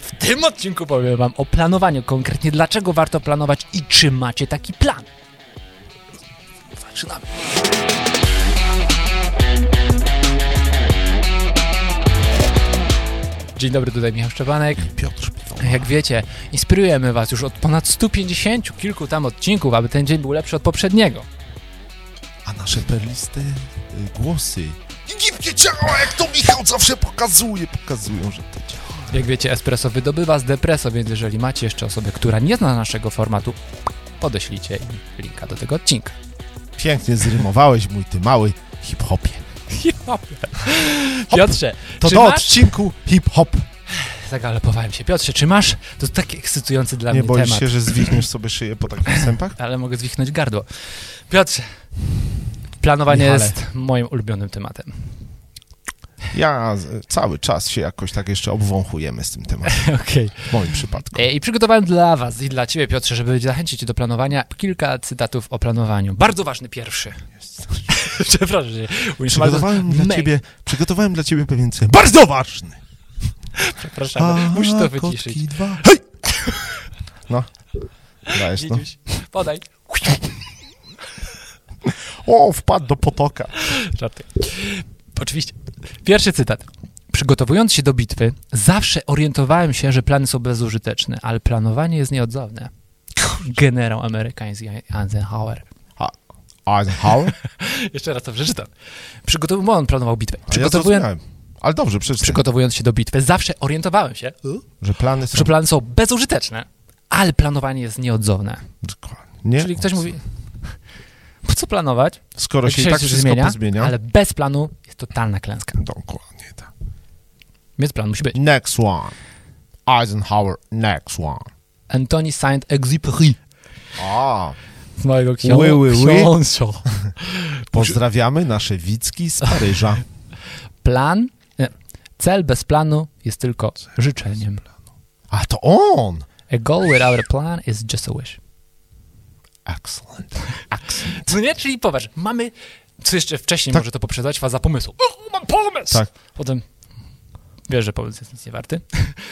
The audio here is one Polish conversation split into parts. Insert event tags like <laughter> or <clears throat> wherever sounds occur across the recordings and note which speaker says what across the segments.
Speaker 1: W tym odcinku powiem wam o planowaniu konkretnie, dlaczego warto planować i czy macie taki plan. Zaczynamy. Dzień dobry, tutaj Michał Szczepanek.
Speaker 2: Piotr Piwon.
Speaker 1: Jak wiecie, inspirujemy was już od ponad 150 kilku tam odcinków, aby ten dzień był lepszy od poprzedniego.
Speaker 2: A nasze perliste y, głosy. Dziwnie działa, jak to Michał zawsze pokazuje. Pokazują, że to działa.
Speaker 1: Jak wiecie, espresso wydobywa z depreso, więc jeżeli macie jeszcze osobę, która nie zna naszego formatu, podeślijcie im linka do tego odcinka.
Speaker 2: Pięknie zrymowałeś, mój ty mały hip-hopie.
Speaker 1: <laughs> Piotrze,
Speaker 2: To
Speaker 1: czy
Speaker 2: do
Speaker 1: masz...
Speaker 2: odcinku hip-hop.
Speaker 1: Zagalopowałem się. Piotrze, czy masz? To taki ekscytujący dla
Speaker 2: Nie
Speaker 1: mnie
Speaker 2: boisz
Speaker 1: temat.
Speaker 2: się, że zwichniesz sobie szyję po takich wstępach?
Speaker 1: Ale mogę zwichnąć gardło. Piotrze, planowanie
Speaker 2: Michale.
Speaker 1: jest moim ulubionym tematem.
Speaker 2: Ja z- cały czas się jakoś tak jeszcze obwąchujemy z tym tematem,
Speaker 1: Okej.
Speaker 2: w moim
Speaker 1: <laughs>
Speaker 2: przypadku.
Speaker 1: E, I przygotowałem dla was i dla ciebie, Piotrze, żeby zachęcić cię do planowania, kilka cytatów o planowaniu. Bardzo ważny pierwszy. <laughs> Przepraszam cię.
Speaker 2: Przygotowałem dla
Speaker 1: Mej.
Speaker 2: ciebie, przygotowałem dla ciebie pewien cel. Bardzo ważny!
Speaker 1: Przepraszam, musisz to wyciszyć.
Speaker 2: kotki dwa. Hej! <laughs> No, dajesz no.
Speaker 1: Dzidziuś, podaj.
Speaker 2: O, wpadł do potoka.
Speaker 1: Żarty. Oczywiście. Pierwszy cytat. Przygotowując się do bitwy, zawsze orientowałem się, że plany są bezużyteczne, ale planowanie jest nieodzowne. Generał amerykański Eisenhower. <laughs>
Speaker 2: Eisenhower?
Speaker 1: Jeszcze raz to przeczytam. Przygotowując, bo on planował bitwę.
Speaker 2: A Ja
Speaker 1: Przygotowując,
Speaker 2: zrozumiałem. Ale dobrze, przeczytaj,
Speaker 1: przygotowując się do bitwy, zawsze orientowałem się,
Speaker 2: że plany są...
Speaker 1: że plany są bezużyteczne, ale planowanie jest nieodzowne.
Speaker 2: Dokładnie. Nie?
Speaker 1: Czyli ktoś mówi, po co planować,
Speaker 2: Skoro
Speaker 1: jak
Speaker 2: się i tak wszystko
Speaker 1: zmienia,
Speaker 2: pozmienia...
Speaker 1: ale bez planu jest totalna klęska.
Speaker 2: Dokładnie tak.
Speaker 1: Więc plan musi być.
Speaker 2: Next one. Eisenhower, next one.
Speaker 1: Antoni Saint-Exupéry.
Speaker 2: A,
Speaker 1: z mojego ksią-
Speaker 2: Oui, oui, oui.
Speaker 1: książą.
Speaker 2: pozdrawiamy nasze Wicki z
Speaker 1: <laughs>
Speaker 2: Paryża.
Speaker 1: Plan, nie, cel bez planu jest tylko życzeniem.
Speaker 2: A to on!
Speaker 1: A goal without a plan is just a wish.
Speaker 2: Excellent.
Speaker 1: No nie, czyli popatrz, mamy, co jeszcze wcześniej
Speaker 2: Tak.
Speaker 1: może to poprzedzać, faza pomysłu. O, mam pomysł!
Speaker 2: Tak.
Speaker 1: Potem wiesz, że pomysł jest nic nie warty.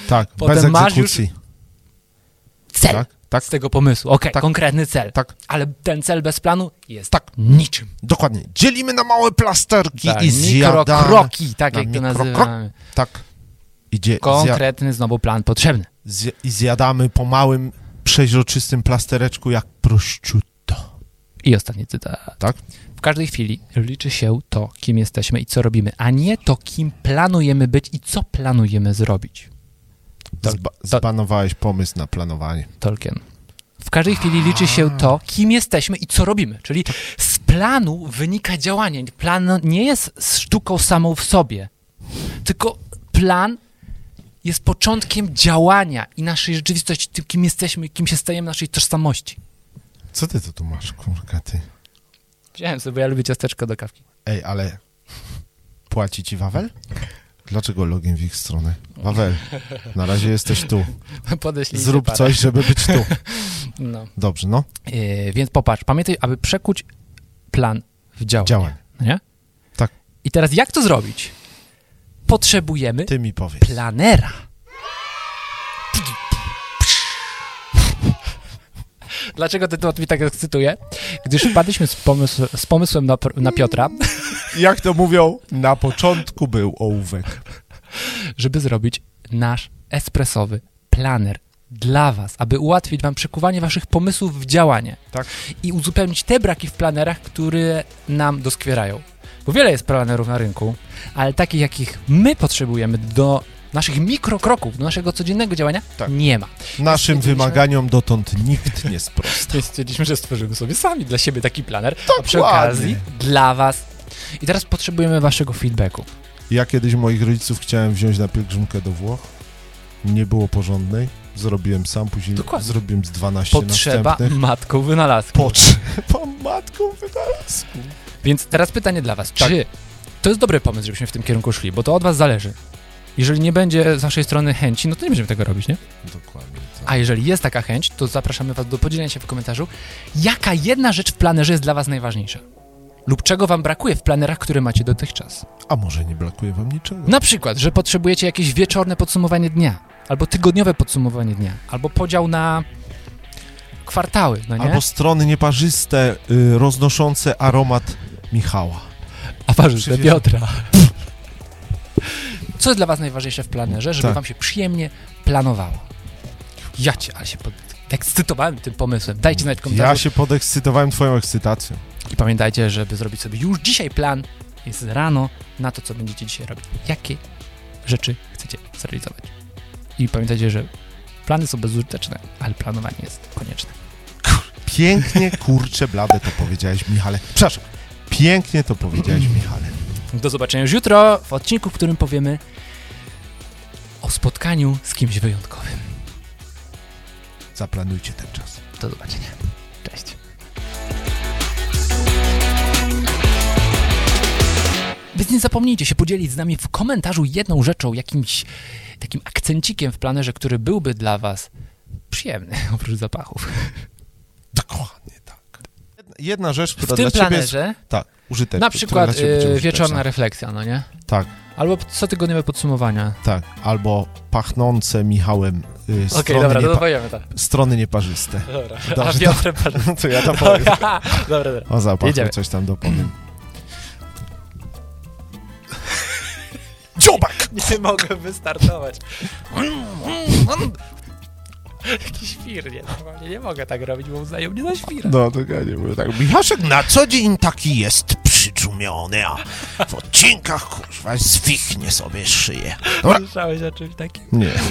Speaker 2: Tak,
Speaker 1: Potem
Speaker 2: bez
Speaker 1: masz już-
Speaker 2: egzekucji.
Speaker 1: Cel
Speaker 2: Tak, tak,
Speaker 1: z tego pomysłu, okej,
Speaker 2: Tak.
Speaker 1: konkretny cel.
Speaker 2: tak.
Speaker 1: Ale ten cel bez planu jest tak niczym.
Speaker 2: Dokładnie. Dzielimy na małe plasterki
Speaker 1: Tak,
Speaker 2: i zjadamy.
Speaker 1: mikrokroki, tak
Speaker 2: na
Speaker 1: jak to
Speaker 2: mikrokro-
Speaker 1: nazywamy.
Speaker 2: Tak. Idzie, zja,
Speaker 1: Konkretny znowu plan potrzebny.
Speaker 2: zja, I zjadamy po małym, przeźroczystym plastereczku jak prosciutto.
Speaker 1: I ostatni cytat.
Speaker 2: Tak?
Speaker 1: W każdej chwili liczy się to, kim jesteśmy i co robimy, a nie to, kim planujemy być i co planujemy zrobić. To-
Speaker 2: Zba,
Speaker 1: to-
Speaker 2: zbanowałeś pomysł na planowanie.
Speaker 1: Tolkien. W każdej chwili liczy się to, kim jesteśmy i co robimy. Czyli z planu wynika działanie. Plan nie jest sztuką samą w sobie, tylko plan jest początkiem działania i naszej rzeczywistości, tym, kim jesteśmy, kim się stajemy, naszej tożsamości.
Speaker 2: Co ty to tu masz, kurka, ty?
Speaker 1: Wziąłem sobie, bo ja lubię ciasteczko do kawki. <laughs>
Speaker 2: Ej, ale płaci ci Wawel? Dlaczego login w ich stronę? Wawel, na razie jesteś tu.
Speaker 1: Podeślij
Speaker 2: Zrób coś, żeby być tu.
Speaker 1: No.
Speaker 2: Dobrze, no.
Speaker 1: Yy, więc popatrz, pamiętaj, aby przekuć plan w działanie.
Speaker 2: Działaj.
Speaker 1: Nie?
Speaker 2: Tak.
Speaker 1: I teraz jak to zrobić? Potrzebujemy
Speaker 2: Ty mi powiedz.
Speaker 1: planera. Dlaczego ten temat mi tak ekscytuje? Gdyż wpadliśmy z, pomysł, z pomysłem na, pr- na Piotra,
Speaker 2: Jak to mówią, na początku był ołówek.
Speaker 1: żeby zrobić nasz espresowy planer dla Was, aby ułatwić Wam przekuwanie Waszych pomysłów w działanie.
Speaker 2: Tak.
Speaker 1: i uzupełnić te braki w planerach, które nam doskwierają. Bo wiele jest planerów na rynku, ale takich, jakich my potrzebujemy do naszych mikrokroków, do naszego codziennego działania,
Speaker 2: Tak.
Speaker 1: nie ma.
Speaker 2: Naszym wymaganiom dotąd nikt nie sprostał.
Speaker 1: Więc stwierdziliśmy, że stworzymy sobie sami dla siebie taki planer, a przy
Speaker 2: Dokładnie.
Speaker 1: okazji dla was. I teraz potrzebujemy waszego feedbacku.
Speaker 2: Ja kiedyś moich rodziców chciałem wziąć na pielgrzymkę do Włoch. Nie było porządnej. Zrobiłem sam, później
Speaker 1: Dokładnie.
Speaker 2: zrobiłem z 12
Speaker 1: Potrzeba
Speaker 2: następnych. <laughs>
Speaker 1: matką wynalazku.
Speaker 2: Potrzeba matką wynalazku.
Speaker 1: Więc teraz pytanie dla was.
Speaker 2: Tak.
Speaker 1: Czy to jest dobry pomysł, żebyśmy w tym kierunku szli? Bo to od was zależy. Jeżeli nie będzie z waszej strony chęci, no to nie będziemy tego robić, nie?
Speaker 2: Dokładnie tak.
Speaker 1: A jeżeli jest taka chęć, to zapraszamy Was do podzielenia się w komentarzu, jaka jedna rzecz w planerze jest dla Was najważniejsza. Lub czego Wam brakuje w planerach, które macie dotychczas.
Speaker 2: A może nie brakuje wam niczego?
Speaker 1: Na przykład, że potrzebujecie jakieś wieczorne podsumowanie dnia. albo tygodniowe podsumowanie dnia, albo podział na kwartały, no nie?
Speaker 2: Albo strony nieparzyste, y, roznoszące aromat Michała.
Speaker 1: A parzyste
Speaker 2: Przywieź-
Speaker 1: Piotra. <laughs> Co jest dla was najważniejsze w planerze, żeby
Speaker 2: Tak.
Speaker 1: wam się przyjemnie planowało? Ja cię, ale się pod... ekscytowałem tym pomysłem. Dajcie znać w komentarzu.
Speaker 2: Ja się podekscytowałem twoją ekscytacją.
Speaker 1: I pamiętajcie, żeby zrobić sobie już dzisiaj plan, jest rano na to, co będziecie dzisiaj robić. Jakie rzeczy chcecie zrealizować. I pamiętajcie, że plany są bezużyteczne, ale planowanie jest konieczne.
Speaker 2: Pięknie, kurczę, blade to powiedziałeś, Michale. Przepraszam. Pięknie to powiedziałeś, Michale.
Speaker 1: Do zobaczenia już jutro w odcinku, w którym powiemy o spotkaniu z kimś wyjątkowym.
Speaker 2: Zaplanujcie ten czas.
Speaker 1: Do zobaczenia. Cześć. Więc nie zapomnijcie się podzielić z nami w komentarzu jedną rzeczą, jakimś takim akcencikiem w planerze, który byłby dla was przyjemny, <laughs> oprócz zapachów.
Speaker 2: Dokładnie tak. Jedna, jedna rzecz, która
Speaker 1: W tym
Speaker 2: dla ciebie jest
Speaker 1: planerze,
Speaker 2: tak, użyteczna.
Speaker 1: na
Speaker 2: która
Speaker 1: przykład
Speaker 2: dla ciebie będzie
Speaker 1: y,
Speaker 2: użyteczna.
Speaker 1: wieczorna refleksja, no nie?
Speaker 2: Tak.
Speaker 1: Albo cotygodniowe podsumowania.
Speaker 2: Tak, albo pachnące Michałem y, strony, niepa-
Speaker 1: powiemy tak.
Speaker 2: strony nieparzyste.
Speaker 1: <laughs> Dobra.
Speaker 2: <laughs> Dobrze, A
Speaker 1: Piotr
Speaker 2: <laughs> No to ja
Speaker 1: <laughs>
Speaker 2: to powiem.
Speaker 1: Dobra, dobra.
Speaker 2: O zapachu
Speaker 1: Jedziemy.
Speaker 2: coś
Speaker 1: <clears throat>
Speaker 2: tam dopowiem. <clears throat> Dziobak!
Speaker 1: Nie mogę wystartować. Jakiś wir, nie, normalnie nie mogę tak robić, bo uznają mnie za świra.
Speaker 2: No, to ja nie mówię tak. Michaszek na co dzień taki jest przyczumiony, a w odcinkach, kurwa, zwichnie sobie szyję. Dobra.
Speaker 1: Słyszałeś o czymś takim?
Speaker 2: Nie.